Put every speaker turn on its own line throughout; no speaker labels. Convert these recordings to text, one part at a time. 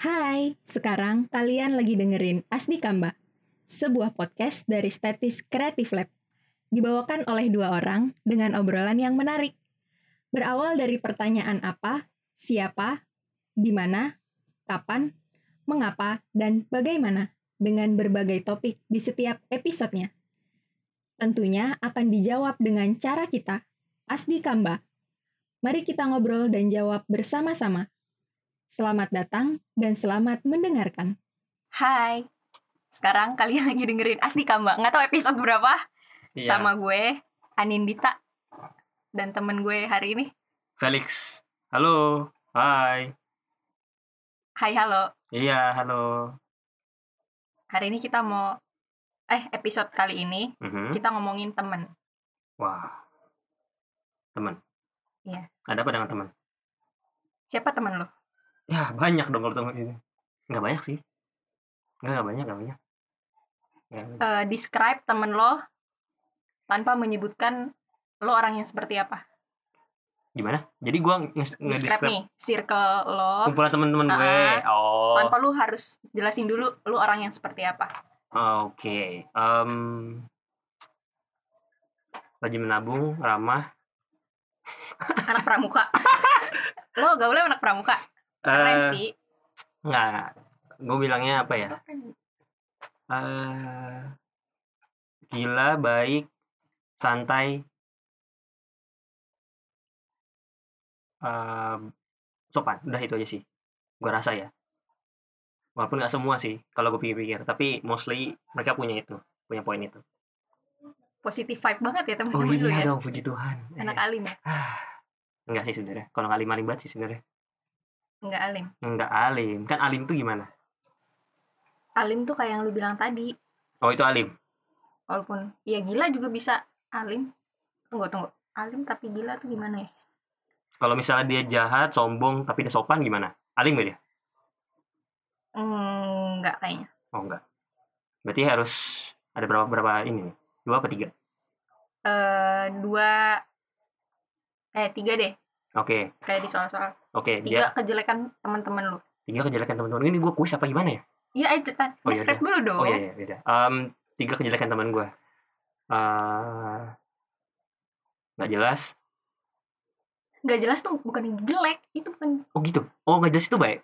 Hai, sekarang kalian lagi dengerin Asdi Kamba, sebuah podcast dari Statis Creative Lab. Dibawakan oleh dua orang dengan obrolan yang menarik. Berawal dari pertanyaan apa, siapa, di mana, kapan, mengapa, dan bagaimana dengan berbagai topik di setiap episodenya. Tentunya akan dijawab dengan cara kita, Asdi Kamba. Mari kita ngobrol dan jawab bersama-sama. Selamat datang dan selamat mendengarkan.
Hai. Sekarang kalian lagi dengerin Asli Kamba. Nggak tahu episode berapa
Iya.
sama gue Anindita dan temen gue hari ini.
Felix. Halo. Hai.
Hai halo.
Iya, halo.
Hari ini kita mau eh episode kali ini
Mhm.
kita ngomongin temen.
Wah. Teman.
Iya.
Ada apa dengan teman?
Siapa temen lo?
Ya, banyak dong kalau teman ini. Enggak banyak sih. Enggak, enggak banyak, enggak banyak. Nggak banyak.
Eh, describe temen lo tanpa menyebutkan lo orang yang seperti apa.
Gimana? Jadi gua nge-
Describe
nge-describe
nih circle lo.
kumpulan teman-teman gue. Oh.
Tanpa lu harus jelasin dulu lu orang yang seperti apa.
Oke. Em rajin menabung, ramah.
Anak pramuka. lo gaulnya anak pramuka. Keren
Eh,
sih.
Enggak, enggak. Gue bilangnya apa ya?
Lo kan
eh gila, baik, santai, eh sopan. Udah itu aja sih. Gue rasa ya. Walaupun nggak semua sih, kalau gue pikir-pikir. Tapi mostly mereka punya itu, punya poin itu.
positive vibe banget ya
Oh
teman-teman lu
iya
ya.
dong, puji Tuhan.
Anak
Eh,
alim ya?
enggak sih sebenarnya. Kalau nggak alim-alim banget sih sebenarnya.
Enggak alim.
Enggak alim. Kan alim tuh gimana?
Alim tuh kayak yang lu bilang tadi.
Oh itu alim.
Walaupun ya gila juga bisa alim. Tunggu, tunggu. Alim tapi gila tuh gimana ya?
Kalau misalnya dia jahat, sombong, tapi dia sopan gimana? Alim gak dia?
Mm, Enggak kayaknya.
Oh enggak. Berarti harus ada berapa berapa ini nih? Dua apa tiga?
eh dua, eh tiga deh.
Oke,
Kayak di soal-soal.
oke. Dia
Tiga kejelekan teman-teman lu.
tiga kejelekan teman-teman. Ini gue kuis apa gimana ya?
Iya, ayo cepetan.
Oh, iya,
Describe dulu dong.
Oh iya iya beda. Em, tiga kejelekan teman gue. Eh, nggak jelas.
Nggak jelas tuh bukan jelek. Itu bukan
Oh gitu. Oh nggak jelas itu baik.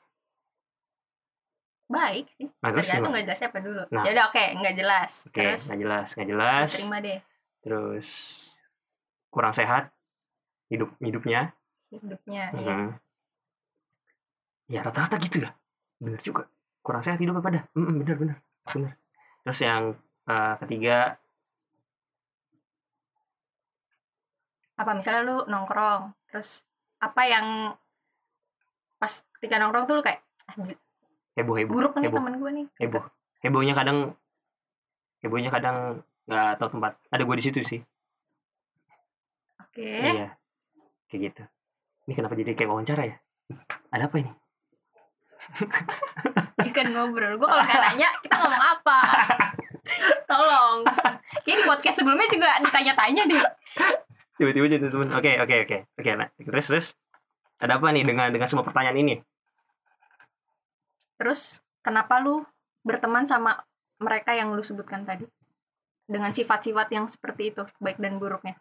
baik sih.
Nah,
Nggak
terus
jelas tuh
gimana?
nggak jelas apa dulu.
Nah.
Ya udah oke, nggak jelas.
Oke,
Terus
nggak jelas, nggak jelas.
terima deh.
Terus kurang sehat hidup hidupnya.
Hidupnya. Iya.
Mhm. Ya rata-rata gitu ya. Bener juga. Kurang sehat hidup apa dah? Mm-mm, bener bener bener. Terus yang eh, ketiga,
apa misalnya lu nongkrong terus apa yang pas ketika nongkrong tuh lu kayak "Ah, j-
heboh heboh.
buruk nih
heboh.
teman gue nih gitu.
heboh hebohnya kadang hebohnya kadang nggak tahu tempat ada gue di situ sih
oke
iya kayak gitu ini kenapa jadi kayak wawancara ya ada apa ini
ini kan ngobrol gue kalau nggak nanya kita ngomong apa tolong kayak di podcast sebelumnya juga ditanya-tanya deh
tiba-tiba jadi temen oke oke oke oke nah, terus terus ada apa nih dengan dengan semua pertanyaan ini
terus kenapa lu berteman sama mereka yang lu sebutkan tadi dengan sifat-sifat yang seperti itu baik dan buruknya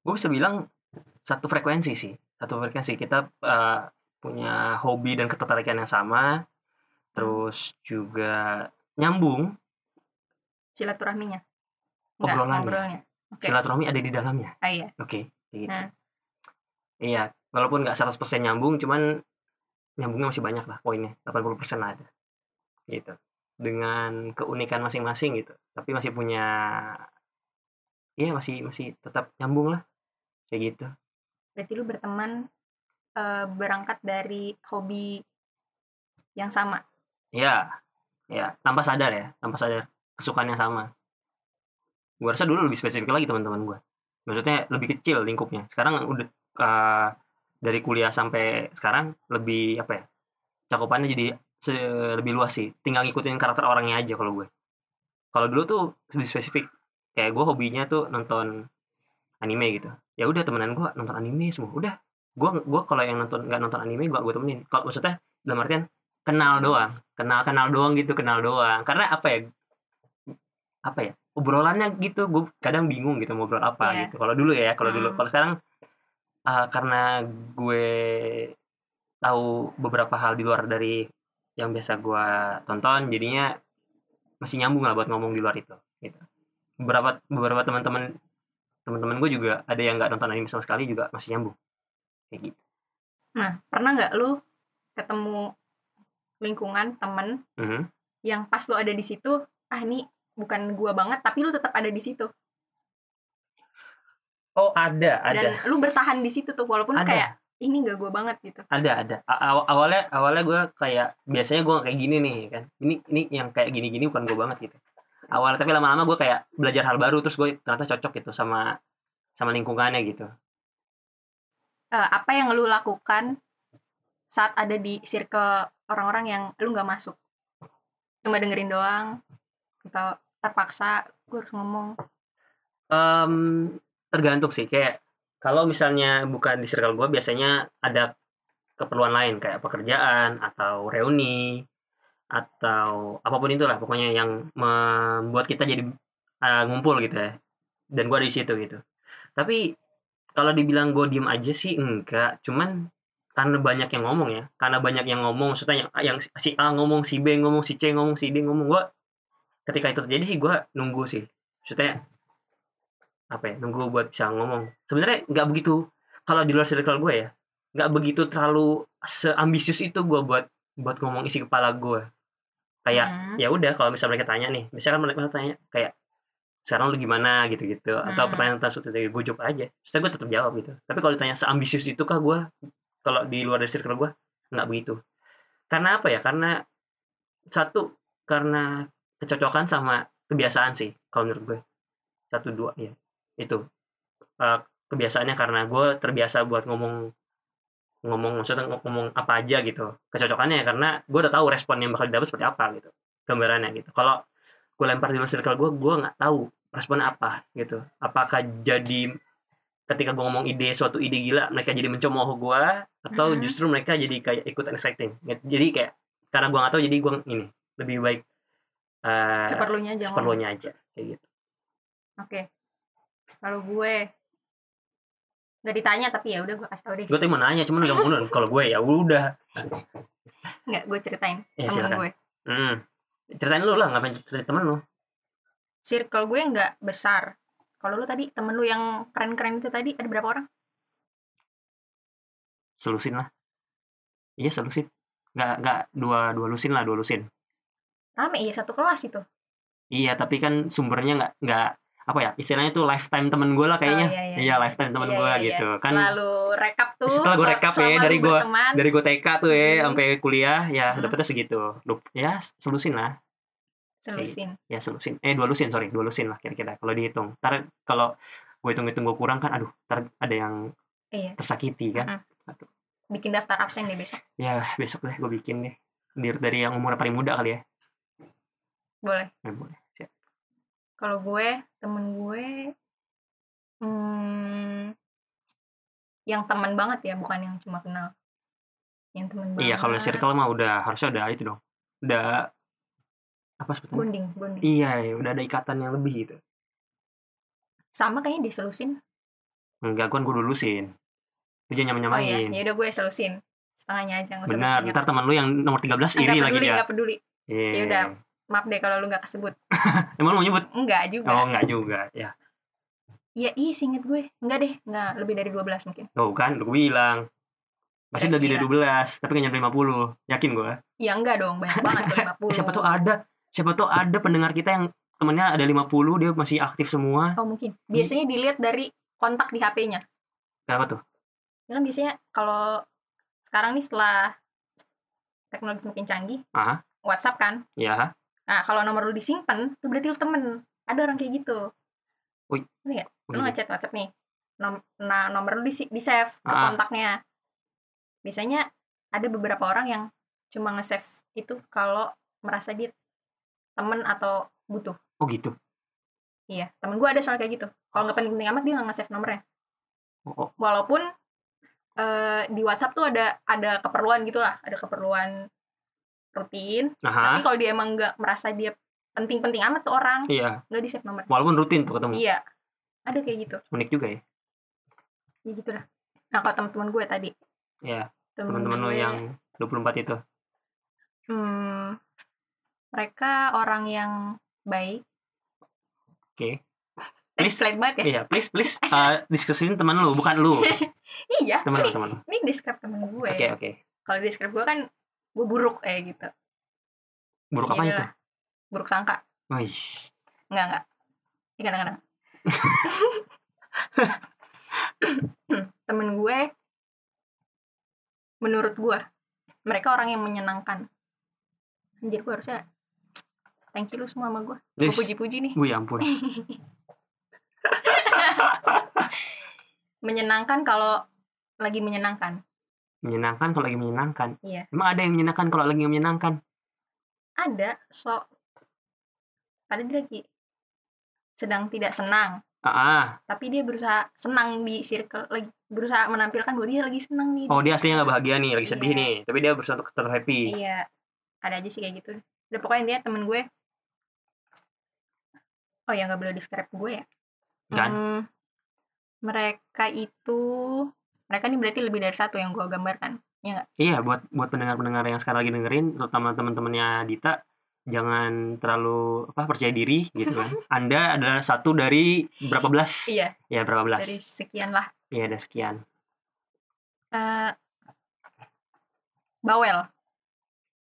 gue bisa bilang satu frekuensi sih satu frekuensi kita eh, punya hobi dan ketertarikan yang sama terus juga nyambung
silaturahminya
Obrolannya.
ngobrolnya oke
silaturahmi ada di dalamnya
ah, iya
Oke, kayak gitu.
Nah.
Iya, walaupun nggak 100% nyambung, cuman nyambungnya masih banyak lah poinnya. 80% lah ada. Gitu. Dengan keunikan masing-masing gitu. Tapi masih punya Iya, masih masih tetap nyambung lah. Kayak gitu.
berarti lu berteman eh, berangkat dari hobi yang sama
Iya. Ya, tanpa sadar ya, tanpa sadar kesukaan yang sama. Gua rasa dulu lebih spesifik lagi teman-teman gua. Maksudnya lebih kecil lingkupnya. Sekarang udah eh, dari kuliah sampai sekarang lebih apa ya? Cakupannya jadi se- lebih luas sih. Tinggal ngikutin karakter orangnya aja kalau gue. Kalau dulu tuh lebih spesifik. Kayak gue hobinya tuh nonton anime gitu. Ya udah temenan gua nonton anime semua. Udah. Gua gua kalau yang nonton nggak nonton anime gua gue temenin. Kalau maksudnya dalam artian kenal doang kenal kenal doang gitu kenal doang karena apa ya apa ya obrolannya gitu gue kadang bingung gitu mau obrol apa
Iya.
gitu kalau dulu ya kalau dulu
Hmm.
kalau sekarang ah, karena gue tahu beberapa hal di luar dari yang biasa gue tonton jadinya masih nyambung lah buat ngomong di luar itu gitu beberapa beberapa teman-teman teman-teman gue juga ada yang nggak nonton anime sama sekali juga masih nyambung kayak gitu
Nah, pernah nggak lu ketemu lingkungan temen
Mhm.
yang pas lu ada di situ, ah ini bukan gua banget, tapi lu tetap ada di situ
oh ada ada
dan lu bertahan di situ tuh walaupun
Ada.
kayak ini nggak gua banget gitu.
ada ada A- aw- awalnya awalnya gue kayak biasanya gue kayak gini nih kan ini ini yang kayak gini gini bukan gue banget gitu awal tapi lama-lama gue kayak belajar hal baru terus gue ternyata cocok gitu sama sama lingkungannya gitu
Eh, apa yang lu lakukan saat ada di circle orang-orang yang lu nggak masuk? Cuma dengerin doang atau terpaksa gue harus ngomong.
Em, Mmm, tergantung sih kayak kalau misalnya bukan di circle gue biasanya ada keperluan lain kayak pekerjaan atau reuni atau apapun itulah pokoknya yang membuat kita jadi eh, ngumpul gitu ya dan gue ada di situ gitu tapi kalau dibilang gue diem aja sih enggak cuman karena banyak yang ngomong ya karena banyak yang ngomong maksudnya yang, yang si A ngomong si B ngomong si C ngomong si D ngomong gue ketika itu terjadi sih gue nunggu sih maksudnya apa ya nunggu buat bisa ngomong sebenarnya nggak begitu kalau di luar circle gue ya nggak begitu terlalu seambisius itu gue buat buat ngomong isi kepala gue kayak
Hmm.
ya udah kalau misalnya mereka tanya nih misalkan mereka tanya kayak sekarang lu gimana gitu-gitu atau
Hmm.
pertanyaan tersebut itu gue jawab aja terus gue tetap jawab gitu tapi kalau ditanya seambisius itu kah gue kalau di luar dari circle gue nggak begitu karena apa ya karena satu karena kecocokan sama kebiasaan sih kalau menurut gue satu dua ya itu Eh, kebiasaannya karena gue terbiasa buat ngomong ngomong maksudnya ngomong apa aja gitu kecocokannya ya, karena gue udah tahu respon yang bakal didapat seperti apa gitu gambarannya gitu kalau gue lempar di luar circle gue gue nggak tahu responnya apa gitu apakah jadi ketika gue ngomong ide suatu ide gila mereka jadi mencemooh gue atau
Mhm.
justru mereka jadi kayak ikut exciting gitu. jadi kayak karena gue nggak tahu jadi gue ini lebih baik eh,
Seperlunya aja ngomong.
seperlunya aja kayak gitu
Oke. Kalau gue nggak ditanya tapi ya udah gue kasih tau deh.
gue tadi mau nanya cuman udah mundur kalau gue ya udah
Nggak gue ceritain
ya
temen
silakan
gue.
Hmm. ceritain lu lah ngapain ceritain temen lu
Circle gue nggak besar. Kalau lu tadi temen lu yang keren-keren itu tadi ada berapa orang?
selusin lah iya selusin nggak nggak dua dua lusin lah dua lusin
Rame ya satu kelas itu.
iya tapi kan sumbernya nggak nggak apa ya istilahnya tuh lifetime temen gue lah kayaknya
iya, iya.
iya lifetime
Iya,
temen gue
iya, iya.
gitu kan
Lalu rekap tuh.
Setelah gue
sel-
rekap ya,
selama lu
dari gue-
berteman.
dari gue TK tuh ya
Hmm.
sampai kuliah ya
Hmm.
dapetnya segitu Lup- ya selusin lah
Selusin.
ya selusin eh dua lusin sorry dua lusin lah kira-kira kalau dihitung ntar kalau gue hitung-hitung gue kurang kan aduh ntar ada yang
Iya.
tersakiti kan
Bikin daftar absen deh besok.
ya besok deh gue bikin deh dari, dari yang umur paling muda kali ya
Boleh.
Eh, boleh.
Kalau gue temen gue. Hmm, yang temen banget ya bukan yang cuma kenal. Yang temen banget.
iya kalau circle mah udah harusnya udah itu dong udah apa sebetulnya
Bonding, bonding.
iya ya, udah ada ikatan yang lebih gitu
Sama kayaknya diselusin.
enggak kan gue dulusin lu jangan
Oh iya,
nyamain
ya udah gue selusin setengahnya aja nggak usah
benar
banyak.
ntar teman lu yang nomor 13
Ah, nggak
iri lagi
peduli
dia
nggak peduli
Iya.
Yaudah. maaf deh kalau lu nggak kesebut
emang lu mau nyebut
enggak
oh
juga
enggak juga ya
ya ih singet gue enggak deh enggak lebih dari 12 mungkin
tuh kan udah gue bilang pasti
Udah
lebih dari 12 tapi nggak nyampe 50 yakin gue
ya enggak dong banyak banget tuh
Eh,
50
siapa tuh ada siapa tuh ada pendengar kita yang temennya ada 50 dia masih aktif semua
oh mungkin
Hmm.
biasanya dilihat dari kontak di HP-nya
kenapa tuh
ya kan biasanya kalau sekarang nih setelah teknologi semakin canggih
Aha.
WhatsApp kan
ya
nah kalau nomor lu disimpan itu berarti lu temen ada orang kayak gitu lu
begitu.
ngechat WhatsApp nih Nom- nah nomor lu di, di save ke
Ah.
kontaknya biasanya ada beberapa orang yang cuma nge-save itu kalau merasa dia temen atau butuh
oh gitu
iya temen gue ada soal kayak gitu kalau nggak penting-penting amat dia nggak nge-save nomornya
Oh, oh.
walaupun eh, di WhatsApp tuh ada ada gitu keperluan gitulah ada keperluan rutin
Nah,
tapi kalau dia emang nggak merasa dia penting-penting amat tuh orang
iya.
nggak di save nomor
Walaupun rutin tuh ketemu.
iya ada kayak gitu
Unik juga ya.
ya gitu lah nah kalau teman-teman gue tadi
Iya,
temen
teman-teman lo
gue,
yang 24 itu.
hmm, mereka orang yang baik
Oke.
Tadi
Please.
flat banget ya
Iya, please please eh, diskusin teman lu, bukan lu.
iya
Teman lu,
ini,
teman lu.
ini describe temen gue
Oke, oke.
kalau describe gue kan gue buruk kayak gitu
Buruk
Jadi
apa itu?
lah, buruk sangka
Wih.
Enggak, enggak. Ini kadang-kadang. Temen gue, menurut gue, mereka orang yang menyenangkan. Anjir, gue harusnya thank you lu semua sama gue. Gue
Wih,
puji-puji nih.
Wih, ya ampun.
Eh. Menyenangkan kalau lagi menyenangkan.
Menyenangkan kalau lagi menyenangkan.
Iya.
Emang ada yang menyenangkan kalau lagi nggak menyenangkan?
Ada, sok. Ada dia lagi sedang tidak senang.
Ah, ah.
Tapi dia berusaha senang di circle. lagi Berusaha menampilkan bahwa dia lagi senang nih. di
Oh, dia aslinya nggak bahagia nih, lagi sedih
Iya.
nih. Tapi dia berusaha untuk tetap happy.
Iya, ada aja sih kayak gitu. Udah pokoknya dia temen gue. Oh ya nggak boleh describe gue ya.
Kan?
Hmm, mereka itu, mereka ini berarti lebih dari satu yang gue gambarkan.
Iya, buat buat pendengar-pendengar yang sekarang lagi dengerin, terutama teman-temannya Dita, jangan terlalu apa percaya diri gitu kan. Anda adalah satu dari berapa belas?
Iya,
Ya, berapa belas?
dari sekian lah.
Iya, ada sekian.
Eh, bawel,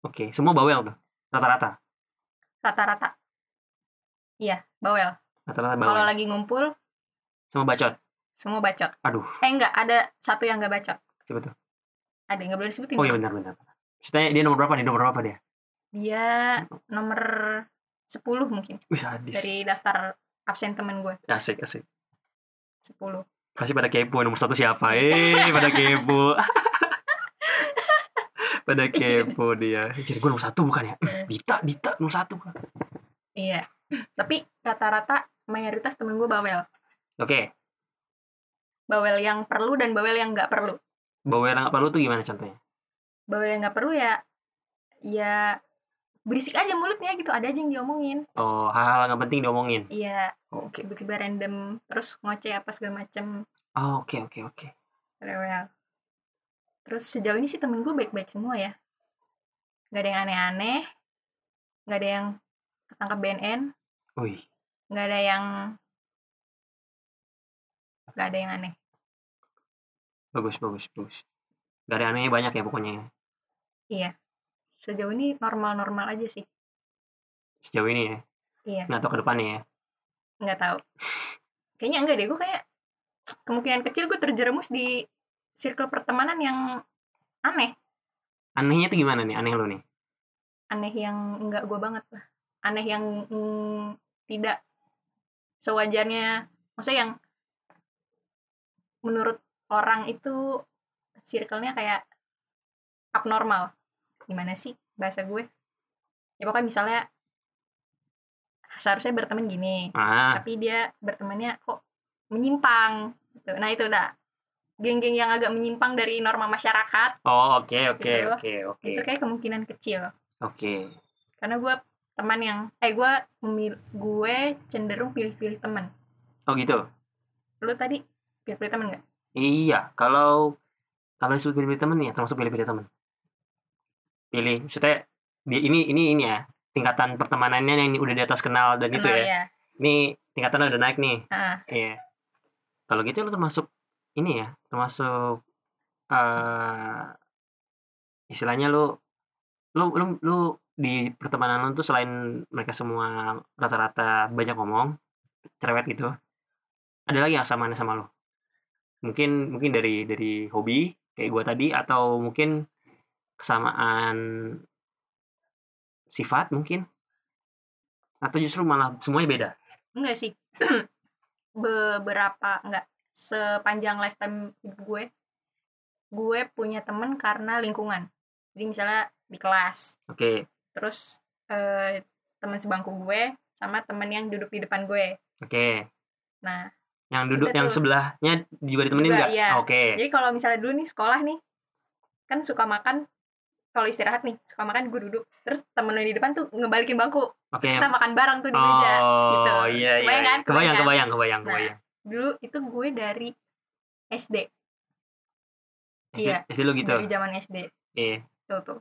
Oke, semua bawel tuh. Rata-rata.
rata-rata. Iya, bawel.
Rata-rata bawel.
Kalau lagi ngumpul,
Semua bacot.
semua bacot.
Aduh.
Eh enggak, ada satu yang nggak bacot.
Siapa tuh?
Ada yang nggak boleh disebutin.
Oh iya benar benar. Maksudnya dia nomor berapa nih? Nomor berapa dia?
Dia nomor 10 mungkin.
Wih, sadis.
dari daftar absen temen gue
Asik, asik.
10
Pasti pada kepo nomor satu siapa? Eh, pada kepo. pada kepo dia. Jadi gue nomor satu bukan ya? Dita, Dita nomor satu. Oke,
iya tapi rata-rata mayoritas temen gue bawel bawel yang perlu dan bawel yang nggak perlu
bawel yang nggak perlu tuh gimana contohnya?
bawel yang nggak perlu ya ya berisik aja mulutnya gitu ada aja yang diomongin
Oh, hal-hal nggak penting diomongin.
iya
Oke.
tiba-tiba random terus ngoceh apa segala macem
Oh, oke, oke, oke.
rewel terus sejauh ini sih temen gue baik-baik semua ya nggak ada yang aneh-aneh nggak ada yang ketangkep BNN
Wih,
nggak ada yang nggak ada yang aneh
bagus, bagus, bagus. Gak ada anehnya banyak ya pokoknya
sejauh ini normal-normal aja sih
sejauh ini ya.
Iya.
Nah, atau ke depannya ya.
nggak tahu kayaknya enggak deh gue kayak kemungkinan kecil gue terjerumus di circle pertemanan yang aneh
Anehnya tuh gimana nih? Aneh lo nih.
aneh yang enggak gue banget lah aneh yang mm, tidak sewajarnya maksudnya yang menurut orang itu circle-nya kayak abnormal gimana sih bahasa gue ya pokoknya misalnya seharusnya berteman gini
Ah,
tapi dia bertemannya kok menyimpang gitu. nah itu udah geng-geng yang agak menyimpang dari norma masyarakat
Oh oke oke
Gitu.
oke oke
itu kayak kemungkinan kecil
oke.
karena gue teman yang eh gue memil- gue cenderung pilih-pilih teman
Oh gitu.
lu tadi pilih-pilih teman nggak
Iya kalau kalau disebut pilih-pilih teman ya termasuk pilih-pilih teman. Pilih maksudnya dia ini ini ini ya tingkatan pertemanannya yang udah di atas kenal dan itu
Kenal
ya. Ini tingkatan udah naik nih.
Ah.
Iya. Kalau gitu lu termasuk ini ya termasuk eh istilahnya lu lu lu lu di pertemanan lu tuh selain mereka semua rata-rata banyak ngomong cerewet gitu ada lagi yang sama sama lu mungkin mungkin dari dari hobi kayak gua tadi atau mungkin kesamaan sifat mungkin atau justru malah semuanya beda
enggak sih beberapa enggak sepanjang lifetime hidup gue gue punya temen karena lingkungan jadi misalnya di kelas
oke
terus eh, teman sebangku gue sama teman yang duduk di depan gue
oke
nah
yang duduk
Udah
yang
tuh.
sebelahnya juga ditemenin
Juga,
nggak?
iya.
Oke.
jadi kalau misalnya dulu nih sekolah nih kan suka makan kalau istirahat nih suka makan gue duduk terus temen lu yang di depan tuh ngebalikin bangku
Oke.
terus kita makan bareng tuh di meja gitu.
Oh, iya iya.
Kebayang kan? Kebayang.
Kebayang, kebayang, kebayang,
Nah,
kebayang.
dulu itu gue dari SD
SD,
iya,
SD lu gitu.
dari zaman SD
Iya.
tuh tuh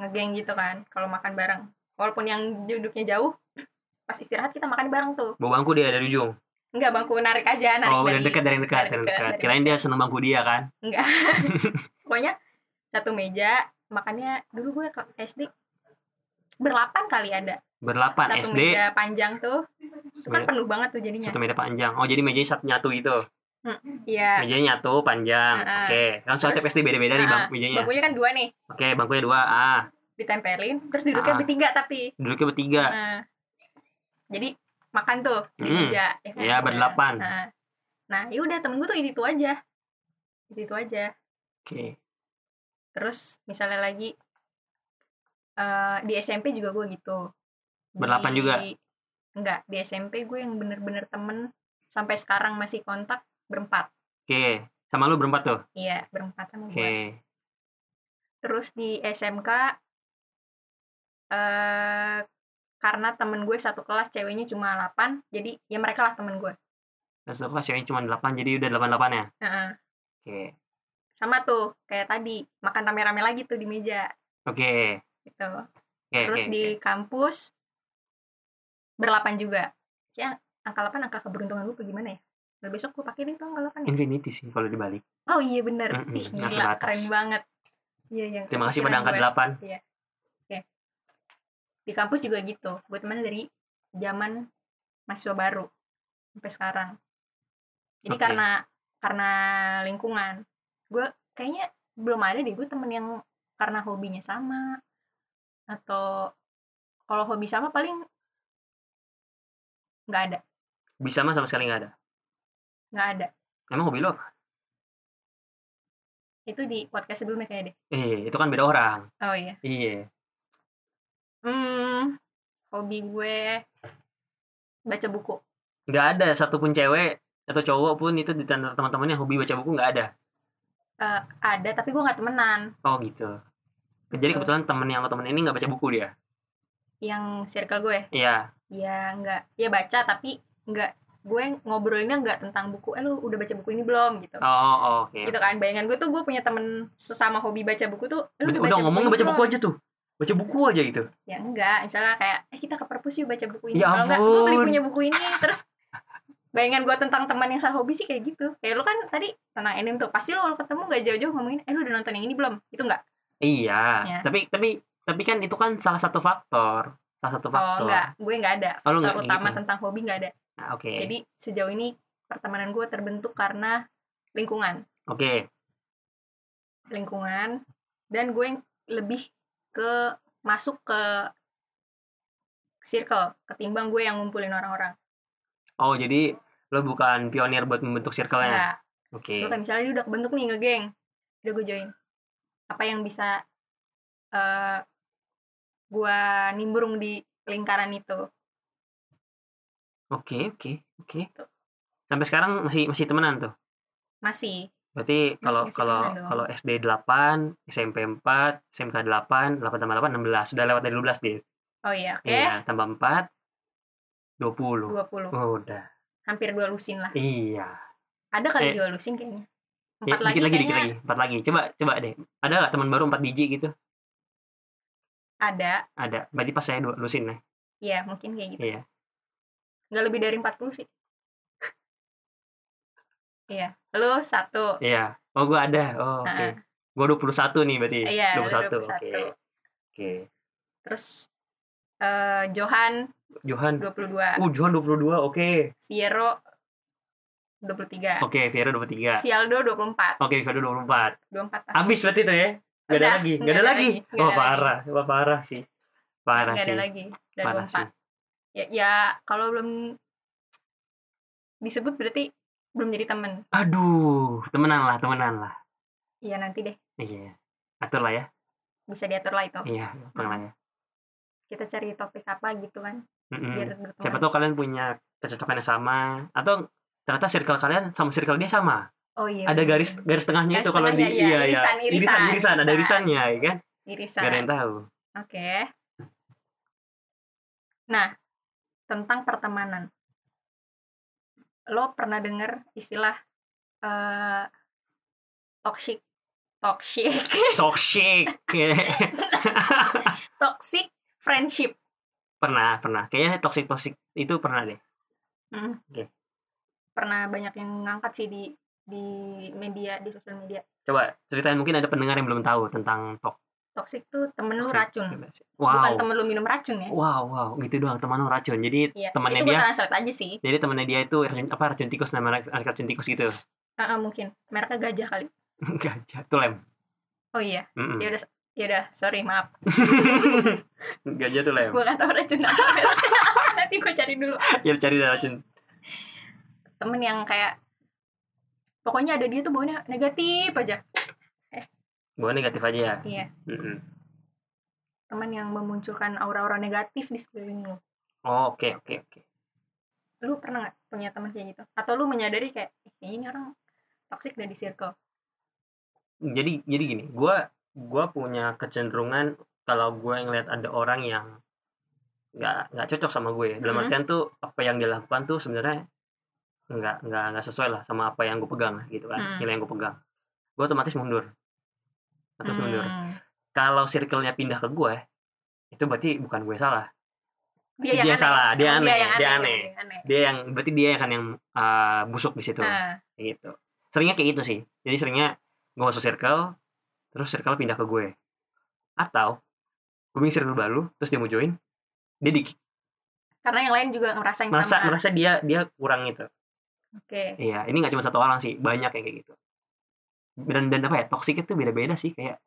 ngegeng gitu kan kalau makan bareng walaupun yang duduknya jauh pas istirahat kita makan bareng tuh
Bawa bangku dia dari ujung.
Enggak bangku narik aja narik
oh, dari dekat, dari dekat, dari dekat.
dari-
Kirain dia seneng bangku dia kan.
enggak pokoknya satu meja makannya dulu gue ke SD berlapan kali ada
Berlapan
satu
SD,
meja Kan panjang tuh itu kan
Meja-
penuh banget tuh jadinya
Iya. satu meja panjang. Oh, jadi mejanya satu nyatu gitu.
iya
Mejanya nyatu panjang.
Ah, ah.
Oke. Kan soal tiap
Terus-
SD beda-beda nih
Ah,
bang
ah.
mejanya.
bangkunya kan dua nih
Oke, bangkunya dua. Ah,
ditempelin terus duduknya
Ah.
bertiga tapi
duduknya bertiga.
Nah, jadi makan tuh di
Iya. Hmm.
meja kan?
Iya, berdelapan.
nah, nah ya udah temen gue tuh itu aja itu aja
Oke.
terus misalnya lagi eh di SMP juga gue gitu Di-
Berlapan juga?
enggak di SMP gue yang bener-bener temen sampai sekarang masih kontak berempat
Oke. Sama lu berempat tuh.
iya berempat sama
Oke.
gue terus di SMK eh karena temen gue satu kelas ceweknya cuma 8 jadi ya mereka lah temen gue
Terus satu kelas ceweknya cuma delapan, jadi udah delapan delapan ya.
Heeh.
Oke.
sama tuh kayak tadi makan rame-rame lagi tuh di meja
Oke.
gitu
Oke.
terus
oke,
di
oke.
kampus berlapan juga ya angka 8 angka keberuntungan gue gimana ya Nah, besok gue pakai nih tuh angka 8 ya
Infinity sih kalau dibalik.
oh iya bener
Mm-mm,
Ih,
angka
gila
batas.
keren banget iya yang
Terima kasih pada
kepikiran
angka
gue.
delapan.
di kampus juga gitu gue temen dari zaman mahasiswa baru sampai sekarang jadi
Oke.
karena karena lingkungan gue kayaknya belum ada deh gue temen yang karena hobinya sama atau kalau hobi sama paling nggak ada
Bisa mah sama sekali nggak ada.
nggak ada
Emang hobi lo? apa?
itu di podcast sebelumnya kayak deh
Eh, itu kan beda orang.
oh iya
Iya.
hmm hobi gue baca buku
Nggak ada satupun cewek atau cowok pun itu di antara teman-temannya hobi baca buku nggak ada.
Eh, ada tapi gue nggak temenan
Oh gitu. Jadi
Betul.
kebetulan temen yang lo temen ini nggak baca buku dia.
yang circle gue
Iya.
ya nggak ya baca tapi nggak gue ngobrolinnya nggak tentang buku eh lu udah baca buku ini belum gitu
Oh, oh, oke.
gitu kan bayangan gue tuh gue punya temen sesama hobi kan baca buku kan? tuh "Eh, lu
Udah, udah ngomongnya
ini
baca buku
belum?"
aja tuh. Baca buku aja gitu.
ya enggak misalnya kayak eh kita ke perpus yuk baca buku ini
Ya
kalau enggak gue beli
ampun.
punya buku ini terus bayangan gue tentang teman yang sehobi sih kayak gitu kayak lu kan tadi tentang anime tuh pasti lu kalau ketemu nggak jauh-jauh ngomongin eh lu udah nonton yang ini belum itu enggak
Iya.
Ya.
Tapi tapi tapi kan itu kan salah satu faktor. Salah satu
oh
faktor.
enggak gue enggak ada
Oh, lu nggak
faktor
kayak
utama
gitu.
tentang hobi enggak ada
Nah, oke.
jadi sejauh ini pertemanan gue terbentuk karena lingkungan
Oke.
lingkungan dan gue yang lebih ke masuk ke circle ketimbang gue yang ngumpulin orang-orang.
Oh, jadi lo bukan pionir buat membentuk circle-nya. ya?
Nah,
Oke.
gue kayak misalnya dia udah kebentuk nih ngegeng, udah gue join. Apa yang bisa eh gue nimbrung di lingkaran itu?
Oke, oke, oke.
Gitu.
Sampai sekarang masih masih temenan tuh.
Masih
Berarti kalau
masih
kalau
temenan dong.
kalau SD 8, SMP 4, SMK 8, 8 tambah 8 16. Sudah lewat dari 12 deh.
oh iya oke
Iya, tambah 4 20.
20.
Oh, udah.
Hampir dua lusin lah.
Iya.
Ada kali
Eh.
dua lusin kayaknya.
Ya,
Empat lagi
dikit lagi, dikit
kayaknya
lagi, empat lagi. Coba coba deh. Ada nggak teman baru 4 biji gitu?
ada.
Ada. Berarti pas saya dua lusin ya.
Ya, mungkin kayak gitu.
Iya.
Nggak lebih dari 40 sih. Iya. Lu satu.
Iya. Oh, gua ada. Oh, oke.
Heeh.
Gua 21 nih berarti.
Iya, lu
21. Oke.
21.
Oke.
Terus eh Johan
Johan
22,
Uh, Johan 22, oke.
Fiero 23,
Oke, Vero 23.
Fialdo 24,
Oke, Vero 24.
24 pas.
Habis berarti tuh ya? Gak ada
Udah,
lagi, gak
nggak
ada
ada
lagi.
lagi, nggak
Wah,
ada
parah. Wah, parah sih. Parah
Nggak
sih.
ada lagi. Udah
Parah sih.
24. Ya, ya kalau belum disebut berarti belum jadi temen.
Aduh, temenan lah, temenan lah.
Iya, nanti deh
Iya. Atur lah ya.
bisa diatur lah itu.
Iya, atur lah ya.
Kita cari topik apa gitu kan
Mm-mm.
biar berteman.
Hmm, Siapa tahu kalian punya kecocokan yang sama atau ternyata circle kalian sama circle dia sama.
Oh iya.
Ada
bener.
garis garis tengahnya
Garis
itu kalau di
tengahnya, iya. Irisan,
irisan,
irisan,
irisan, ada
irisan.
irisannya ya kan.
irisan
Gak ada yang tahu.
oke nah tentang pertemanan lo pernah denger istilah eh toxic toxic
Toxic.
toxic friendship
pernah, pernah. Kayaknya toxic toxic itu pernah deh.
Mm.
Oke.
pernah banyak yang ngangkat sih di di media di sosial media
Coba ceritain mungkin ada pendengar yang belum tahu tentang tok.
toxic tuh temen lu
toxic
racun
relationship. Wow.
bukan temen lu minum racun ya
Wow, wow, gitu doang teman lu racun. Jadi
Iya,
temannya
itu gue
dia,
translate aja sih.
jadi temannya dia itu racun, apa racun tikus nama anak anak racun tikus gitu.
Ah, ah, mungkin mereknya gajah kali.
Gajah, tulem.
Oh iya,
Mm-mm.
ya udah ya udah, sorry maaf.
Gajah tulem.
Gue gak tahu racun apa. mereknya apa. Nanti gue cari dulu.
Ya cari dah racun.
Temen yang kayak pokoknya ada dia tuh baunya negatif aja.
Gua negatif aja ya.
Iya,
Mm-mm.
temen yang memunculkan aura-aura negatif di sekeliling lu.
Oh, Oke, oke, oke.
Lu pernah gak punya temen kayak gitu? Atau lu menyadari kayak "Eh, kayaknya ini orang toksik dari circle.
Hmm, jadi jadi gini gua gua punya kecenderungan kalau gue ngeliat ada orang yang nggak nggak cocok sama gue dalam
Mhm.
artian tuh apa yang dia lakukan tuh sebenarnya nggak nggak nggak sesuai lah sama apa yang gue pegang lah gitu kan
Hmm.
nilai yang gue pegang gue otomatis mundur otomatis mundur
Hmm.
kalau circle-nya pindah ke gue itu berarti bukan gue salah
Dia,
Dia
yang
yang salah, dia
Emang
aneh, dia aneh.
dia aneh.
dia yang berarti dia kan yang uh, busuk di situ
Ah,
Kayak gitu seringnya kayak gitu sih jadi seringnya gue masuk circle terus circle pindah ke gue atau gue bikin circle baru terus dia mau join dia di,
karena yang lain juga ngerasain
merasa
sama.
merasa dia dia kurang gitu
Oke.
iya ini nggak cuma satu orang sih banyak yang kayak gitu dan dan apa ya toksik itu beda beda sih kayak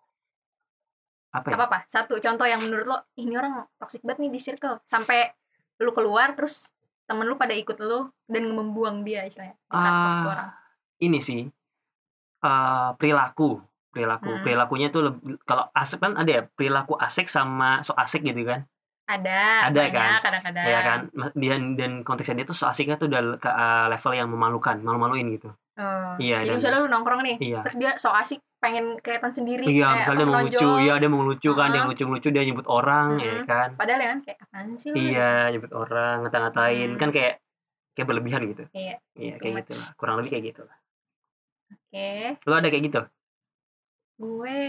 apa ya
Gak apa-apa. Satu contoh yang menurut lo, "Ih, ini orang toxic banget nih di circle. Sampai lu keluar terus temen lu pada ikut lu dan membuang dia istilahnya. Di cut off tuh
Ah,
orang.
ini sih eh perilaku perilaku
Hmm.
perilakunya tuh lebih, kalau asik kan ada ya perilaku asik sama so asik gitu kan
Ada,
ada
banyak
kan?
kadang-kadang.
ya kan Mas- dan dan konteksnya dia tuh so asiknya tuh udah ke uh, level yang memalukan malu-maluin gitu
Oh.
iya
Jadi
dan
misalnya lu nongkrong nih,
iya
terus dia so asik pengen kelihatan sendiri.
iya
kayak
misalnya dia mau lucu
menonjol.
iya dia mau lucu kan dia
Uh-huh.
lucu lucu dia nyebut orang ya
Mm-mm.
kan
Padahal ya kan kayak apaan sih lu?
iya nyebut orang ngata-ngatain
Hmm.
kan kayak kayak berlebihan gitu
Iya.
iya
Too
kayak
much.
gitu lah kurang lebih kayak gitu lah
Oke,
lo ada kayak gitu
gue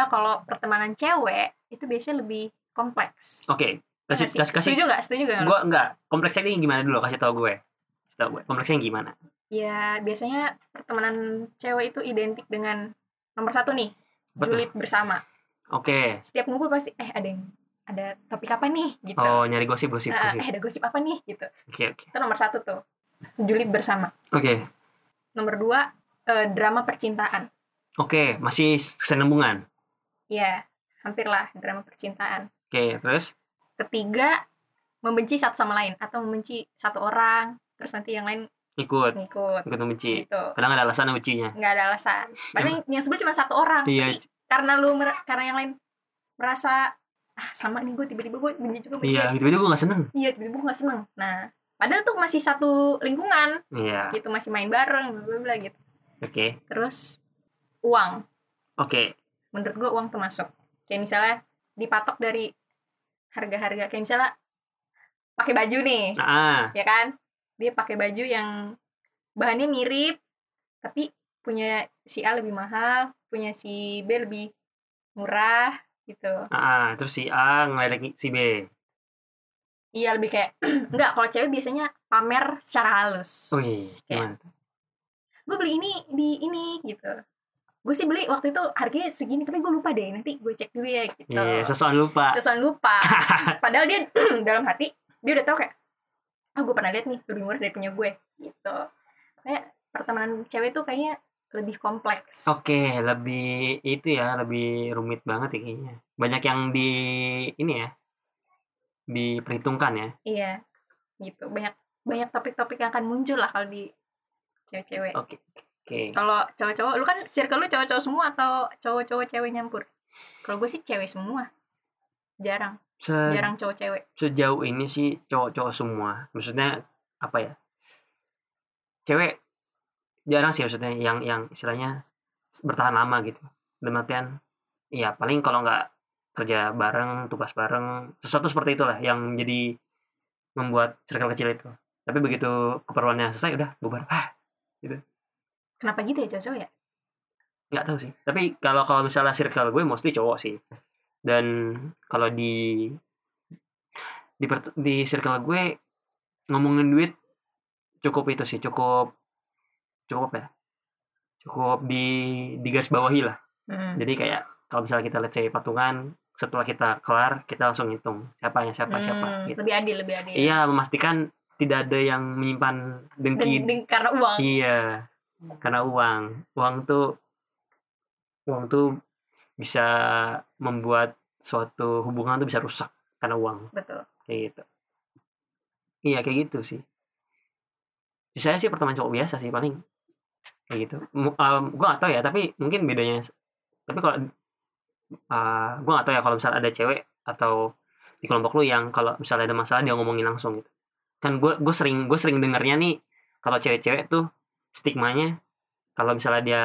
ah kalau pertemanan cewek itu biasanya lebih kompleks.
oke
Ya
kasih
nggak sih?
kasih kasih
Setuju gak? Setuju gak?
gue enggak kompleksnya ini gimana dulu kasih tau gue kasih tau gue kompleksnya yang gimana
Ya, biasanya pertemanan cewek itu identik dengan nomor satu nih,
betul oke
julid bersama. Setiap ngumpul pasti, eh ada yang, ada topik apa nih, gitu.
oh nyari gosip gosip
Ah,
gosip
eh ada gosip apa nih, gitu.
oke oke
Itu nomor satu tuh, julid bersama.
oke
Nomor dua, eh, drama percintaan.
oke masih senembungan
Ya, hampirlah drama percintaan.
oke terus
Ketiga, membenci satu sama lain, atau membenci satu orang, terus nanti yang lain
ikut
ngikut,
ikut membenci
gitu.
kadang ada alasan bencinya
Nggak ada alasan. Padahal yang sebelum cuma satu orang,
iya
tapi karena lu mer- karena yang lain merasa ah sama nih gue tiba-tiba gue benci juga benci
iya tiba-tiba gue gak seneng
iya tiba-tiba gue gak seneng nah padahal tuh masih satu lingkungan
iya
gitu masih main bareng bla bla bla gitu
oke
terus uang
oke
menurut gue uang termasuk kayak misalnya dipatok dari harga-harga kayak misalnya pakai baju nih
ah
ya kan dia pakai baju yang bahannya mirip tapi punya si A lebih mahal punya si B lebih murah gitu
ah, ah. terus si A ngeledek si B
Iya lebih kayak enggak kalau cewek biasanya pamer secara halus. Kayak
wih Oh iya, gimana
gue beli ini di ini gitu. Gue sih beli waktu itu harganya segini tapi gue lupa deh nanti gue cek dulu ya gitu.
iya sesuatu lupa
Sesuatu lupa. Padahal dia dalam hati dia udah tahu kayak ah gue pernah lihat nih lebih murah dari punya gue gitu. Kayak pertemanan cewek tuh kayaknya lebih kompleks.
oke lebih itu ya lebih rumit banget ya kayaknya banyak yang di ini ya diperhitungkan ya
Iya. Gitu. Banyak banyak topik-topik yang akan muncul lah kalau di cewek-cewek.
oke oke
Kalau cowok-cowok, lu kan circle lu cowok-cowok semua atau cowok-cowok cewek nyampur? Kalau gue sih cewek semua. Jarang,
Se-
jarang cowok cewek.
sejauh ini sih cowok-cowok semua maksudnya apa ya cewek jarang sih maksudnya yang yang istilahnya bertahan lama gitu dalam artian ya paling kalau nggak kerja bareng tugas bareng sesuatu seperti itulah yang jadi membuat circle kecil itu tapi begitu keperluannya selesai udah bubar ah
Kenapa gitu ya cowok-cowok ya?
nggak tahu sih tapi kalau kalau misalnya circle gue mostly cowok sih dan kalau di di pert- di circle gue ngomongin duit cukup itu sih cukup cukup ya cukup di di garis bawahi lah
Hmm.
Jadi kayak kalau misalnya kita let's say patungan, setelah kita kelar, kita langsung hitung siapa yang siapa siapa
Hmm,
gitu.
Lebih adil, lebih adil.
Iya, memastikan tidak ada yang menyimpan
Dan,
dengki.
dan karena uang.
Iya. Karena uang. Uang tuh uang tuh bisa membuat suatu hubungan tuh bisa rusak karena uang
Betul.
kayak gitu. Iya, kayak gitu sih. Saya sih pertemuan cowok biasa sih paling kayak gitu. Mu- Um, gue gak tau ya, tapi mungkin bedanya. Tapi kalau uh, gue gak tau ya kalau misalnya ada cewek atau di kelompok lu yang kalau misalnya ada masalah dia ngomongin langsung gitu. Kan gue gue sering gue sering dengernya nih kalau cewek-cewek tuh stigmanya kalau misalnya dia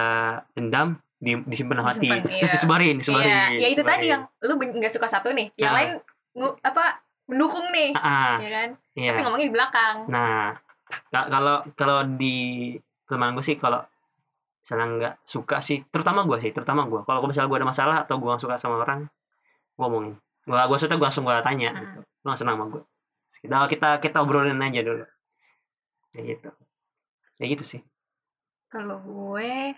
dendam di, disimpan dalam hati
Disimpan,
terus
iya.
disebarin disebarin
Iya, ya itu tadi
disebarin.
yang lu ben- nggak suka satu nih, yang
Ah.
lain ngu- apa mendukung nih,
Ah, ah,
ya kan?
iya.
Tapi ngomongnya di belakang.
Nah, ka- kalau kalau di teman gue sih kalau misalnya nggak suka sih, terutama gue sih, terutama gue. Kalau misalnya gue ada masalah atau gue nggak suka sama orang, gue omongin. Gue gue suka gue langsung gue tanya,
Hmm.
gitu. lo nggak senang sama gue. Terus Kita kita kita obrolin aja dulu. Ya gitu. Ya gitu sih.
Kalau gue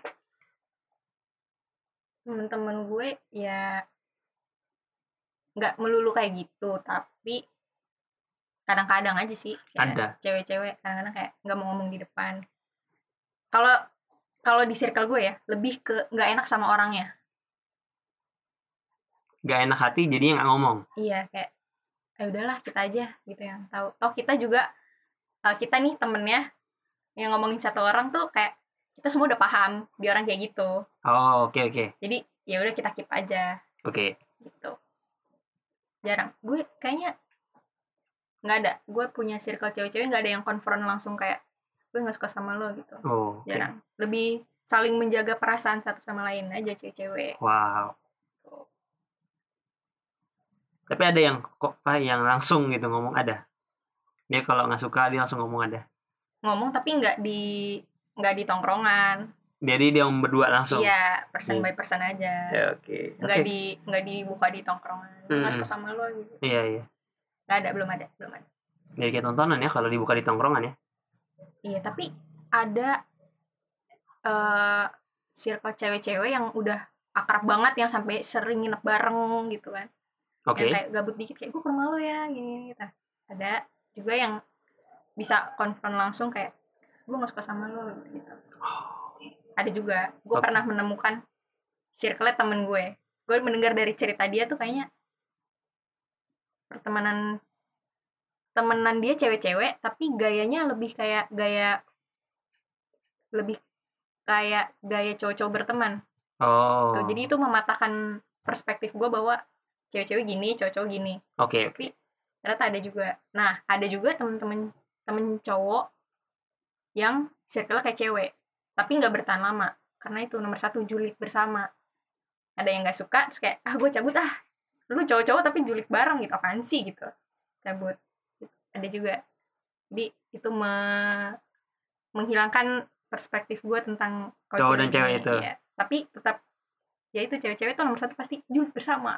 temen-temen gue ya nggak melulu kayak gitu, tapi kadang-kadang aja sih kayak
Ada.
cewek-cewek kadang-kadang kayak nggak mau ngomong di depan. Kalau kalau di circle gue ya lebih ke nggak enak sama orangnya.
Gak enak hati jadi yang nggak ngomong.
Iya kayak ya udahlah kita aja gitu yang tahu. Toh kita juga eh, kita nih temennya yang ngomongin satu orang tuh kayak kita semua udah paham dia orang kayak gitu.
Oh oke oke
Jadi ya udah kita keep aja.
oke.
gitu jarang gue kayaknya nggak ada gue punya circle cewek-cewek nggak ada yang konfront langsung kayak gue nggak suka sama lo gitu
Oh oke.
jarang lebih saling menjaga perasaan satu sama lain aja cewek-cewek
wow. Tapi ada yang kok Pak, yang langsung gitu ngomong ada. Dia kalau nggak suka dia langsung ngomong ada.
ngomong tapi nggak di nggak di tongkrongan
Jadi dia yang berdua langsung.
iya person
Hmm.
by person aja
Ya, oke.
nggak
Oke.
di nggak dibuka di tongkrongan gue nggak
Hmm.
suka sama lo gitu
Iya, iya.
nggak ada belum ada belum ada
Jadi kayak tontonan ya kalau dibuka di tongkrongan ya.
Iya, tapi ada eh circle cewek-cewek yang udah akrab banget yang sampai sering nginep bareng gitu kan.
Oke.
Yang kayak gabut dikit kayak gue ke rumah lo ya gini gitu. Ada juga yang bisa konfront langsung kayak gue gak suka sama lo gitu. Ada juga. Gue
Oke.
pernah menemukan circle temen gue. Gue mendengar dari cerita dia tuh kayaknya pertemanan temenan dia cewek-cewek tapi gayanya lebih kayak gaya lebih kayak gaya cowok-cowok berteman
Oh.
Tuh, gitu. jadi itu mematahkan perspektif gue bahwa cewek-cewek gini, cowok-cowok gini.
Oke.
Ternyata ada juga. Nah, ada juga temen-temen temen cowok yang circle kayak cewek, tapi nggak bertahan lama. Karena itu nomor satu julid bersama. Ada yang nggak suka, terus kayak ah gue cabut ah, lu cowok-cowok tapi julid bareng gitu, apaan sih gitu, cabut. Ada juga. Jadi itu me- menghilangkan perspektif gue tentang kalau
Cowok dan cewek
gini,
itu.
iya. Tapi tetap ya itu cewek-cewek tuh nomor satu pasti julid bersama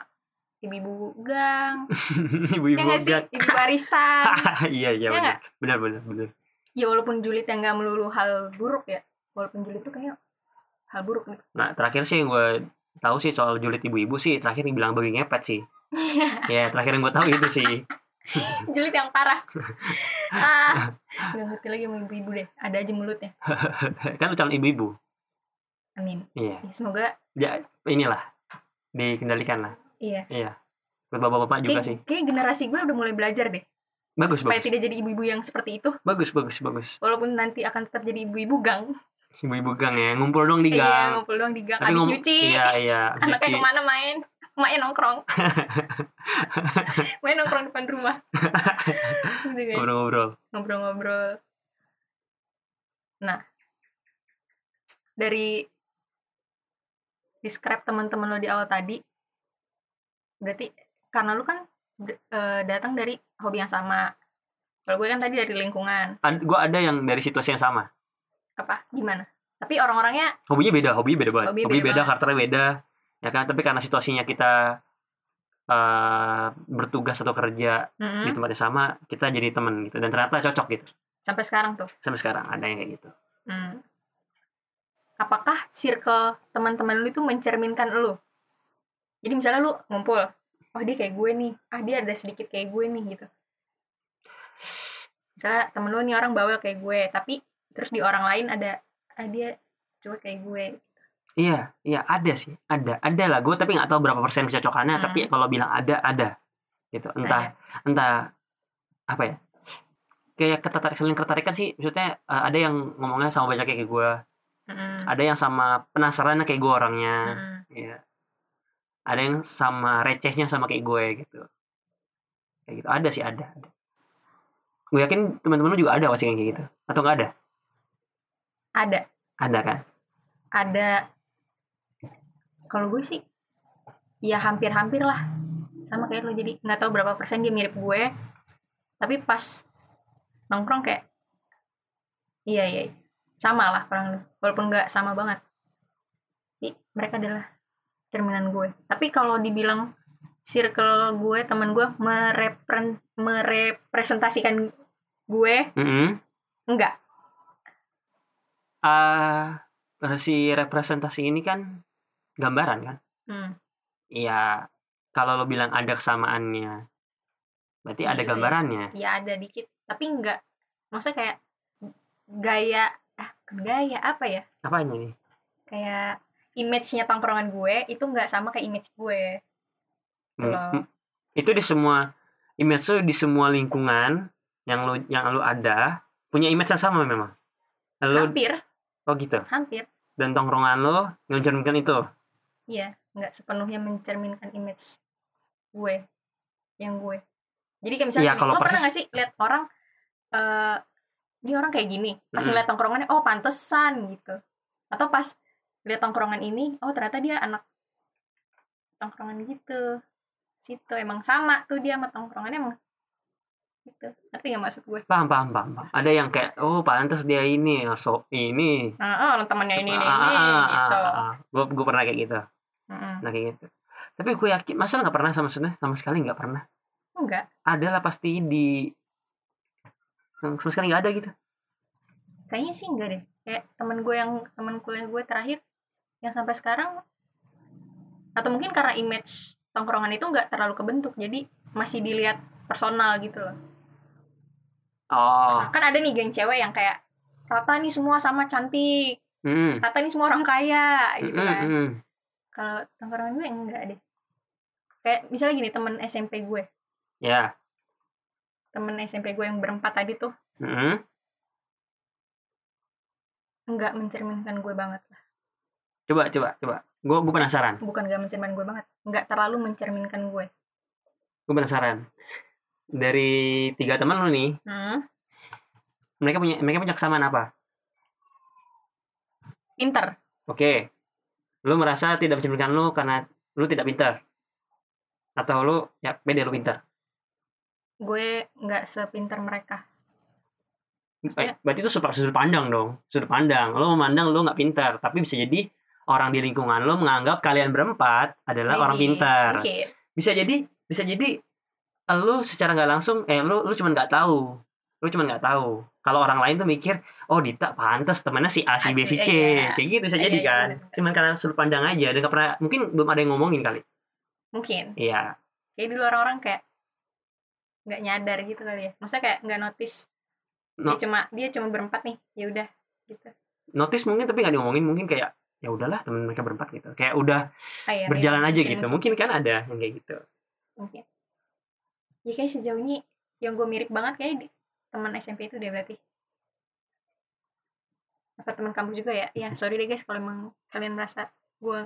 ibu-ibu gang
Ibu-ibu
ya nggak sih
gak-
ibu warisan
Iya,
Ya
iya, benar.
nggak?
Benar, benar, benar.
ya walaupun julid yang nggak melulu hal buruk ya walaupun julid tuh kayak hal buruk nih
Nah, terakhir sih yang gue tahu sih soal julid ibu-ibu sih terakhir yang bilang babi ngepet sih. ya, terakhir yang gue tahu itu sih.
julid yang parah ah nggak ngerti lagi sama ibu-ibu deh ada aja mulutnya
kan lu calon ibu-ibu.
amin
Iya.
Ya, semoga
Ya, inilah dikendalikan lah.
iya
Buat bapak-bapak juga
kayak,
sih.
kayak generasi gue udah mulai belajar deh
Bagus,
supaya
bagus.
tidak jadi ibu-ibu yang seperti itu
Bagus, bagus, bagus.
walaupun nanti akan tetap jadi ibu-ibu gang
Ibu-ibu gang ya, ngumpul dong di
Eh, iya
gang.
ngumpul doang di gang
Tapi
habis
ngom-
nyuci
Iya, iya. abis
anaknya
nyuci.
kemana main main nongkrong main nongkrong depan rumah Gitu kan,
Ngobrol-ngobrol.
ngobrol-ngobrol nah dari describe teman-teman lo di awal tadi berarti karena lu kan d- eh, datang dari hobi yang sama kalau gue kan tadi dari lingkungan
Ad, gue ada yang dari situasi yang sama.
apa gimana tapi orang-orangnya
Hobinya beda, hobinya beda banget.
Hobinya
Hobinya,
beda
beda, karakternya beda. Ya kan, tapi karena situasinya kita eh, bertugas atau kerja
mm-mm,
di tempat yang sama, kita jadi temen gitu. Dan ternyata cocok gitu.
sampai sekarang tuh
Sampai sekarang ada yang kayak gitu.
Hmm. apakah circle teman-teman lu itu mencerminkan lu jadi misalnya lu ngumpul oh dia kayak gue nih ah dia ada sedikit kayak gue nih gitu misalnya temen lu nih orang bawel kayak gue tapi terus di orang lain ada ah dia coba kayak gue
Iya, iya ada sih, ada, ada lah. Gue tapi nggak tahu berapa persen kecocokannya,
Hmm.
tapi kalau bilang ada, ada, gitu.
Nah,
Entah, entah apa ya? Kayak ketertarik saling ketertarikan sih. Maksudnya eh, ada yang ngomongnya sama baca kayak gue,
Mm-mm.
ada yang sama penasarannya kayak gue orangnya,
Mm-mm.
Iya. Ada yang sama recehnya sama kayak gue gitu. Kayak gitu. Ada sih ada. ada. Gue yakin teman-teman lu juga ada pasti kayak gitu. Atau nggak ada?
ada
Ada kan?
ada kalau gue sih ya hampir-hampir lah sama kayak lu jadi nggak tahu berapa persen dia mirip gue tapi pas nongkrong kayak iya iya iya. sama lah kurang lebih. walaupun nggak sama banget Tapi mereka adalah cerminan gue tapi kalau dibilang circle gue teman gue merepren- merepresentasikan gue
Mm-mm.
enggak
Ah, si representasi ini kan gambaran kan?
Hmm.
Iya. Kalau lo bilang ada kesamaannya, berarti ada
Iya.
gambarannya.
ya ada dikit tapi enggak maksudnya kayak gaya ah bukan gaya apa ya
Apanya nih?
kayak image-nya tongkrongan gue itu enggak sama kayak image gue
Mm,
Kalau-
mm. Itu di semua image lo di semua lingkungan yang lo yang lo ada punya image yang sama memang. Lo
hampir
oh gitu.
hampir
Dan tongkrongan lo mencerminkan itu.
iya enggak sepenuhnya mencerminkan image gue yang gue jadi kayak misalnya
Iya,
gini,
kalau
lo pernah
persis-
nggak sih lihat orang eh dia orang kayak gini pas
Mm-mm.
ngeliat tongkrongannya oh pantesan gitu atau pas lihat tongkrongan ini oh ternyata dia anak tongkrongan gitu situ emang sama tuh dia sama tongkrongannya emang gitu ngerti nggak maksud gue
Paham, paham, paham, paham. Ada yang kayak oh pantas dia ini, oh, so ini. Ah,
nah, oh orang temannya ini ini, ini gitu
Gue gue ah. pernah kayak gitu.
Mm-mm.
Nah kayak gitu. Tapi gue yakin masa nggak pernah sama maksudnya sama sekali nggak pernah.
enggak
Ada lah pasti di sama sekali nggak ada gitu.
kayaknya sih enggak deh kayak temen gue yang temen kuliah gue terakhir yang sampai sekarang atau mungkin karena image tongkrongan itu enggak terlalu kebentuk jadi masih dilihat personal gitu loh
Oh.
kan ada nih geng cewek yang kayak rata nih semua sama cantik
Mm-mm.
rata nih semua orang kaya gitu
Mm-mm,
kan
mm-mm.
kalau tongkrongan gue enggak deh kayak misalnya gini temen SMP gue
Ya.
temen SMP gue yang berempat tadi tuh
Mm-mm.
enggak mencerminkan gue banget lah
Coba coba coba. Gue gue penasaran.
bukan enggak mencerminkan gue banget enggak terlalu mencerminkan gue
Gue penasaran. Dari tiga teman lu nih,
hmm.
mereka punya mereka punya kesamaan apa?
pinter
Oke. Lu merasa tidak mencerminkan lu karena lu tidak pintar. Atau lu ya pede lu pintar.
gue nggak sepinter mereka
Eh, berarti itu sudut, sudut pandang dong sudut pandang lo memandang lo nggak pintar tapi bisa jadi orang di lingkungan lo menganggap kalian berempat adalah orang
Maybe.
pintar
mungkin
bisa jadi bisa jadi lo secara nggak langsung eh lo lo cuma nggak tahu lo cuma nggak tahu kalau orang lain tuh mikir oh Dita pantas temennya si A si B si C
Iya.
kayak gitu bisa
Iya,
jadi
iya,
kan
benar.
cuman karena sudut pandang aja dan nggak pernah mungkin belum ada yang ngomongin kali
mungkin
iya
kayak dulu orang-orang kayak nggak nyadar gitu kali ya maksudnya kayak nggak notice
No.
dia cuma dia cuma berempat nih ya udah gitu
notice mungkin tapi nggak diomongin mungkin kayak ya udahlah temen mereka berempat gitu kayak udah
Ah, ya,
berjalan
ya,
aja
mungkin,
gitu mungkin kan ada yang kayak gitu
mungkin ya kayak sejauh ini yang gue mirip banget kayak di- teman SMP itu deh berarti apa teman kampus juga ya ya sorry deh guys kalau emang kalian merasa gue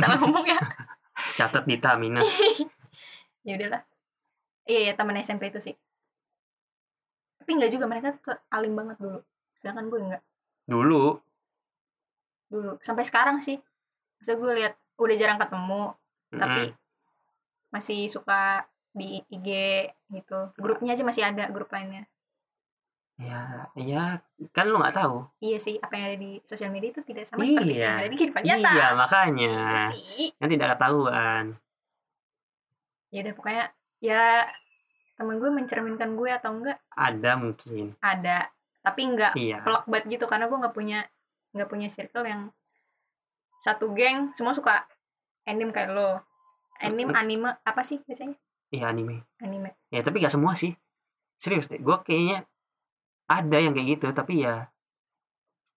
salah ngomong ya
catat Dita minus
ya udahlah iya ya teman SMP itu sih tapi nggak juga mereka tuh alim banget dulu sedangkan gue nggak
dulu
dulu sampai sekarang sih maksud gue lihat udah jarang ketemu tapi masih suka di IG gitu grupnya aja masih ada grup lainnya
ya ya kan lu nggak tahu
iya sih apa yang ada di sosial media itu tidak sama
Iya.
seperti yang ada di kehidupan nyata
iya
Iya
makanya
sih
kan tidak ketahuan
ya udah pokoknya ya temen gue mencerminkan gue atau enggak
ada mungkin
ada tapi enggak
iya
pelak banget gitu karena gue nggak punya nggak punya circle yang satu geng semua suka anime kayak lo anime anime apa sih bacanya
iya anime
anime
ya tapi gak semua sih serius deh gue kayaknya ada yang kayak gitu tapi ya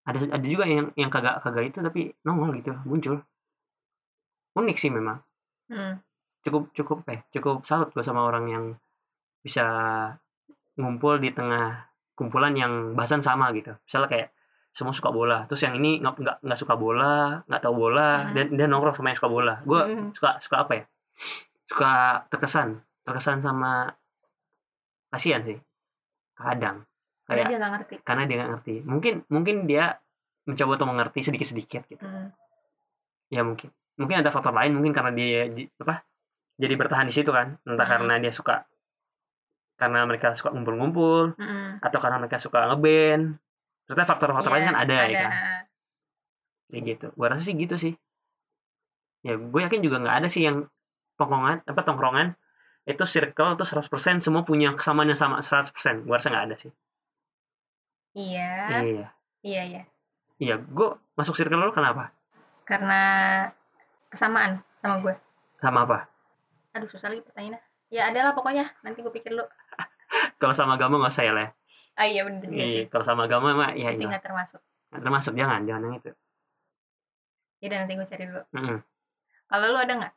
ada ada juga yang yang kagak kagak itu tapi nongol gitu muncul unik sih memang
hmm.
cukup cukup eh cukup salut gue sama orang yang bisa ngumpul di tengah kumpulan yang bahasan sama gitu misalnya kayak semua suka bola terus yang ini nggak nggak nggak suka bola nggak tahu
Hmm.
bola dan dan nongkrong sama yang suka bola gue
Hmm.
suka suka apa ya suka terkesan terkesan sama kasihan sih kadang
karena
kayak
dia nggak ngerti
karena dia nggak ngerti mungkin mungkin dia mencoba untuk mengerti sedikit sedikit gitu
Hmm.
ya mungkin mungkin ada faktor lain mungkin karena dia di- apa jadi bertahan di situ kan entah
Hmm.
karena dia suka karena mereka suka ngumpul-ngumpul
Mm-mm.
atau karena mereka suka ngeband ternyata faktor-faktor lain
Iya,
kan ada, ya kan kayak gitu gua rasa sih gitu sih ya gue yakin juga nggak ada sih yang tongkongan apa tongkrongan itu circle itu 100% semua punya kesamaan yang sama 100% gua rasa nggak ada sih
iya
iya
iya iya
iya gue masuk circle lu kenapa
karena kesamaan sama gue
sama apa
aduh susah lagi pertanyaannya ya adalah pokoknya nanti gue pikir lu
kalau sama agama nggak saya lah ya.
ah iya bener iya
Iya,
sih
kalau sama agama mah ya
tapi
iya
nggak termasuk
Nggak termasuk jangan jangan yang itu
ya nanti gue cari dulu
Mm-mm.
kalau lu ada nggak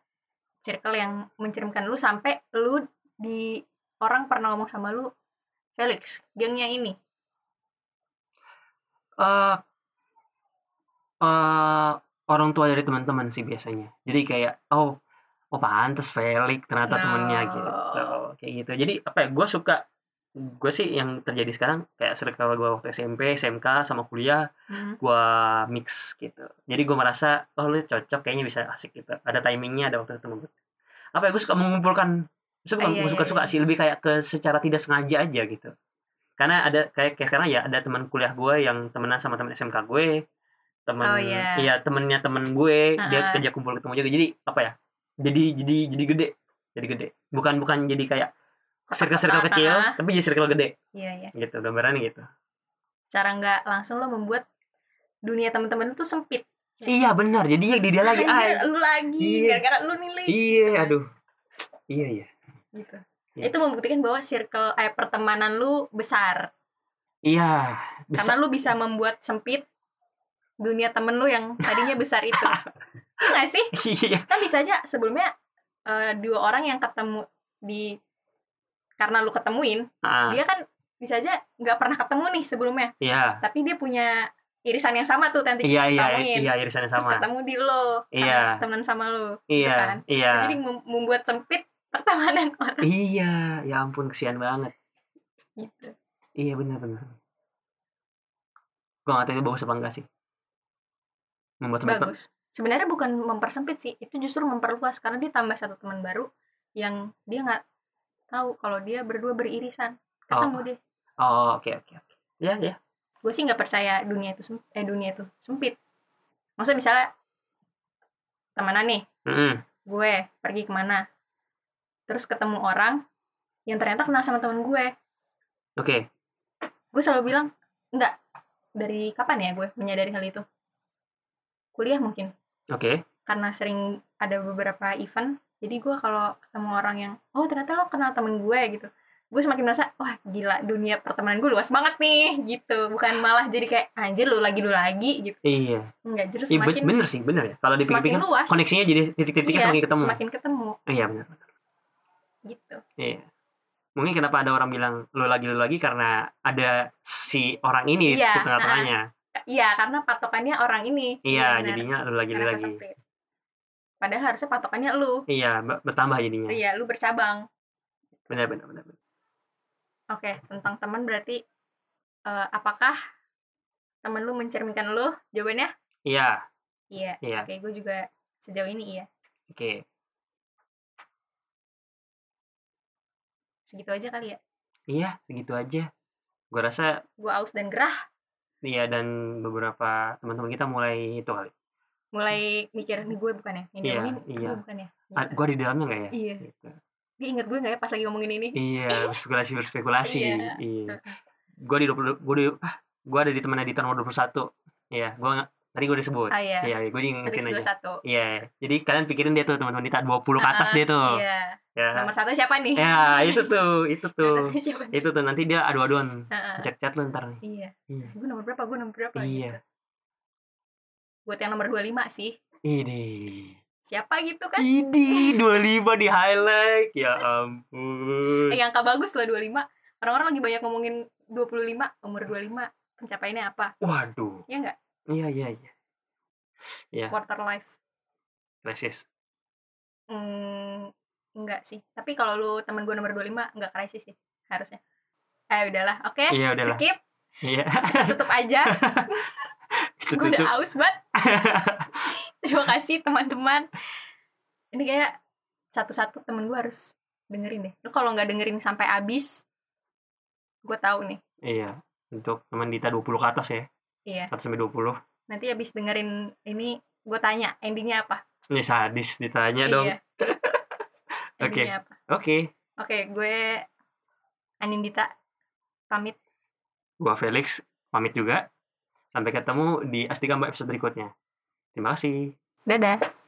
circle yang mencerminkan lu sampai lu di orang pernah ngomong sama lu Felix gengnya ini
eh eh, orang tua dari teman-teman sih biasanya. Jadi kayak oh oh pantes Felix ternyata
No.
temennya gitu. Kayak gitu. Jadi apa ya gue suka gue sih yang terjadi sekarang kayak circle gue waktu SMP, SMK sama kuliah
Hmm,
gue mix gitu. Jadi gue merasa oh lu cocok kayaknya bisa asik gitu. Ada timingnya ada waktu ketemu. Apa ya gue suka mengumpulkan
Ah, iya, iya,
gue suka suka
iya.
sih lebih kayak ke secara tidak sengaja aja gitu karena ada kayak kayak sekarang ya ada teman kuliah gue yang temenan sama teman SMK gue teman
Oh, iya.
iya temennya temen gue dia
Heeh.
kerja kumpul ketemu juga jadi apa ya jadi jadi jadi gede jadi gede bukan bukan jadi kayak circle-circle
Kotak-kotak,
kecil
ah.
tapi jadi circle gede
iya iya
gitu gambarannya gitu
cara nggak langsung lo membuat dunia teman-teman lu tuh sempit
iya benar jadi dia dia lagi
Anjir,
ah,
lu lagi
Iya.
gara-gara lu nilai
iya aduh iya iya
gitu
Iya.
itu membuktikan bahwa circle eh pertemanan lu besar
iya
karena
bisa
lu bisa membuat sempit dunia temen lu yang tadinya besar itu Iya nggak sih
iya
kan bisa aja sebelumnya eh, dua orang yang ketemu di karena lu ketemuin
Ah,
dia kan bisa aja nggak pernah ketemu nih sebelumnya
iya
tapi dia punya irisan yang sama tuh nanti
iya iya
ketemuin.
iya irisannya
terus
sama
ketemu di lo sama
Iya.
temenan sama lo gitu kan.
iya iya
jadi mem- membuat sempit pertemanan orang
iya ya ampun kesian banget
gitu
Iya benar-benar. Gue gak tahu itu bagus apa enggak sih. Membuat sempit
bagus sebenarnya bukan mempersempit sih itu justru memperluas karena dia tambah satu teman baru yang dia nggak tahu kalau dia berdua beririsan ketemu deh
Oh oke oke oke. Iya iya.
gue sih nggak percaya dunia itu sem- eh dunia itu sempit maksudnya misalnya temenan nih
Mm-mm.
gue pergi kemana terus ketemu orang yang ternyata kenal sama teman gue
Oke.
gue selalu bilang enggak dari kapan ya gue menyadari hal itu kuliah mungkin
Oke.
karena sering ada beberapa event jadi gue kalau ketemu orang yang oh ternyata lo kenal temen gue gitu gue semakin merasa wah gila dunia pertemanan gue luas banget nih gitu bukan malah jadi kayak anjir lu lagi lu lagi gitu
Iya.
enggak justru
Iya, ben-
semakin
bener sih bener ya. Kalau
semakin
dipikir-pikir
luas
koneksinya jadi
Iya,
titik-titiknya semakin ketemu.
semakin ketemu
Iya bener.
gitu
Iya. Mungkin kenapa ada orang bilang lu lagi lu lagi karena ada si orang ini
Iya,
di tengah-tengahnya.
iya karena patokannya orang ini
iya
Benar, ya.
jadinya lu lagi lu
ngerasa
lagi.
sempit. padahal harusnya patokannya lu
Iya be- bertambah jadinya.
iya lu bercabang
Bener bener bener. bener.
Oke, tentang teman berarti eh, apakah temen lu mencerminkan lu? Jawabannya
Iya
iya.
iya.
Oke, gue juga sejauh ini iya.
Oke.
segitu aja kali ya
iya segitu aja gue rasa
gue aus dan gerah
iya dan beberapa teman-teman kita mulai itu
Iya.
kali
mulai mikir nih gue bukan ya ini
Iya,
ngomongin
iya.
gue bukan ya
Ah, gue di dalamnya nggak ya
iya
Gitu.
dia ingat gue nggak ya pas lagi ngomongin ini
iya berspekulasi berspekulasi
Iya.
iya gue di 20 gue di ah, gue ada di teman editor nomor 21 iya gue nggak- tadi gue udah sebut
ah iya
iya gue ingetin
Felix
aja
21
Iya, jadi kalian pikirin dia tuh teman-teman kita 20 ke atas
Ah,
dia tuh.
iya
Ya.
nomor satu siapa nih
Ya, itu tuh, itu tuh.
Nomor satu siapa nih?
itu tuh nanti dia adu-aduan.
Ah, ah.
Chat-chat lu ntar nih.
iya
Iya.
gue nomor berapa gue nomor berapa
Iya.
gitu. buat yang nomor 25 sih
Iya. Idi.
siapa gitu kan
Idi 25 di highlight. Ya ampun.
Eh, yang angka bagus loh 25 orang-orang lagi banyak ngomongin 25 umur 25 pencapaiannya apa
Waduh.
ya nggak
Iya, iya, iya.
quarter life
Krisis.
Hmm, enggak sih. Tapi kalau lu temen gue nomor 25 enggak krisis sih harusnya. Eh udahlah, oke.
Iya, udahlah.
Skip,
Iya.
kita tutup aja.
Itu
gue
tuh.
udah aus banget. Terima kasih teman-teman. Ini kayak satu-satu temen gue harus dengerin deh. Lu kalau nggak dengerin sampai habis, gue tahu nih.
Iya. Untuk teman Dita 20 ke atas ya.
Iya.
1 sampai 20.
Nanti habis dengerin ini gue tanya endingnya apa?
Ini sadis ditanya dong.
Iya.
Oke.
Endingnya apa?
Oke.
Oke, gue Anindita pamit.
Gua Felix pamit juga. Sampai ketemu di Astika Mbak episode berikutnya. Terima kasih.
Dadah.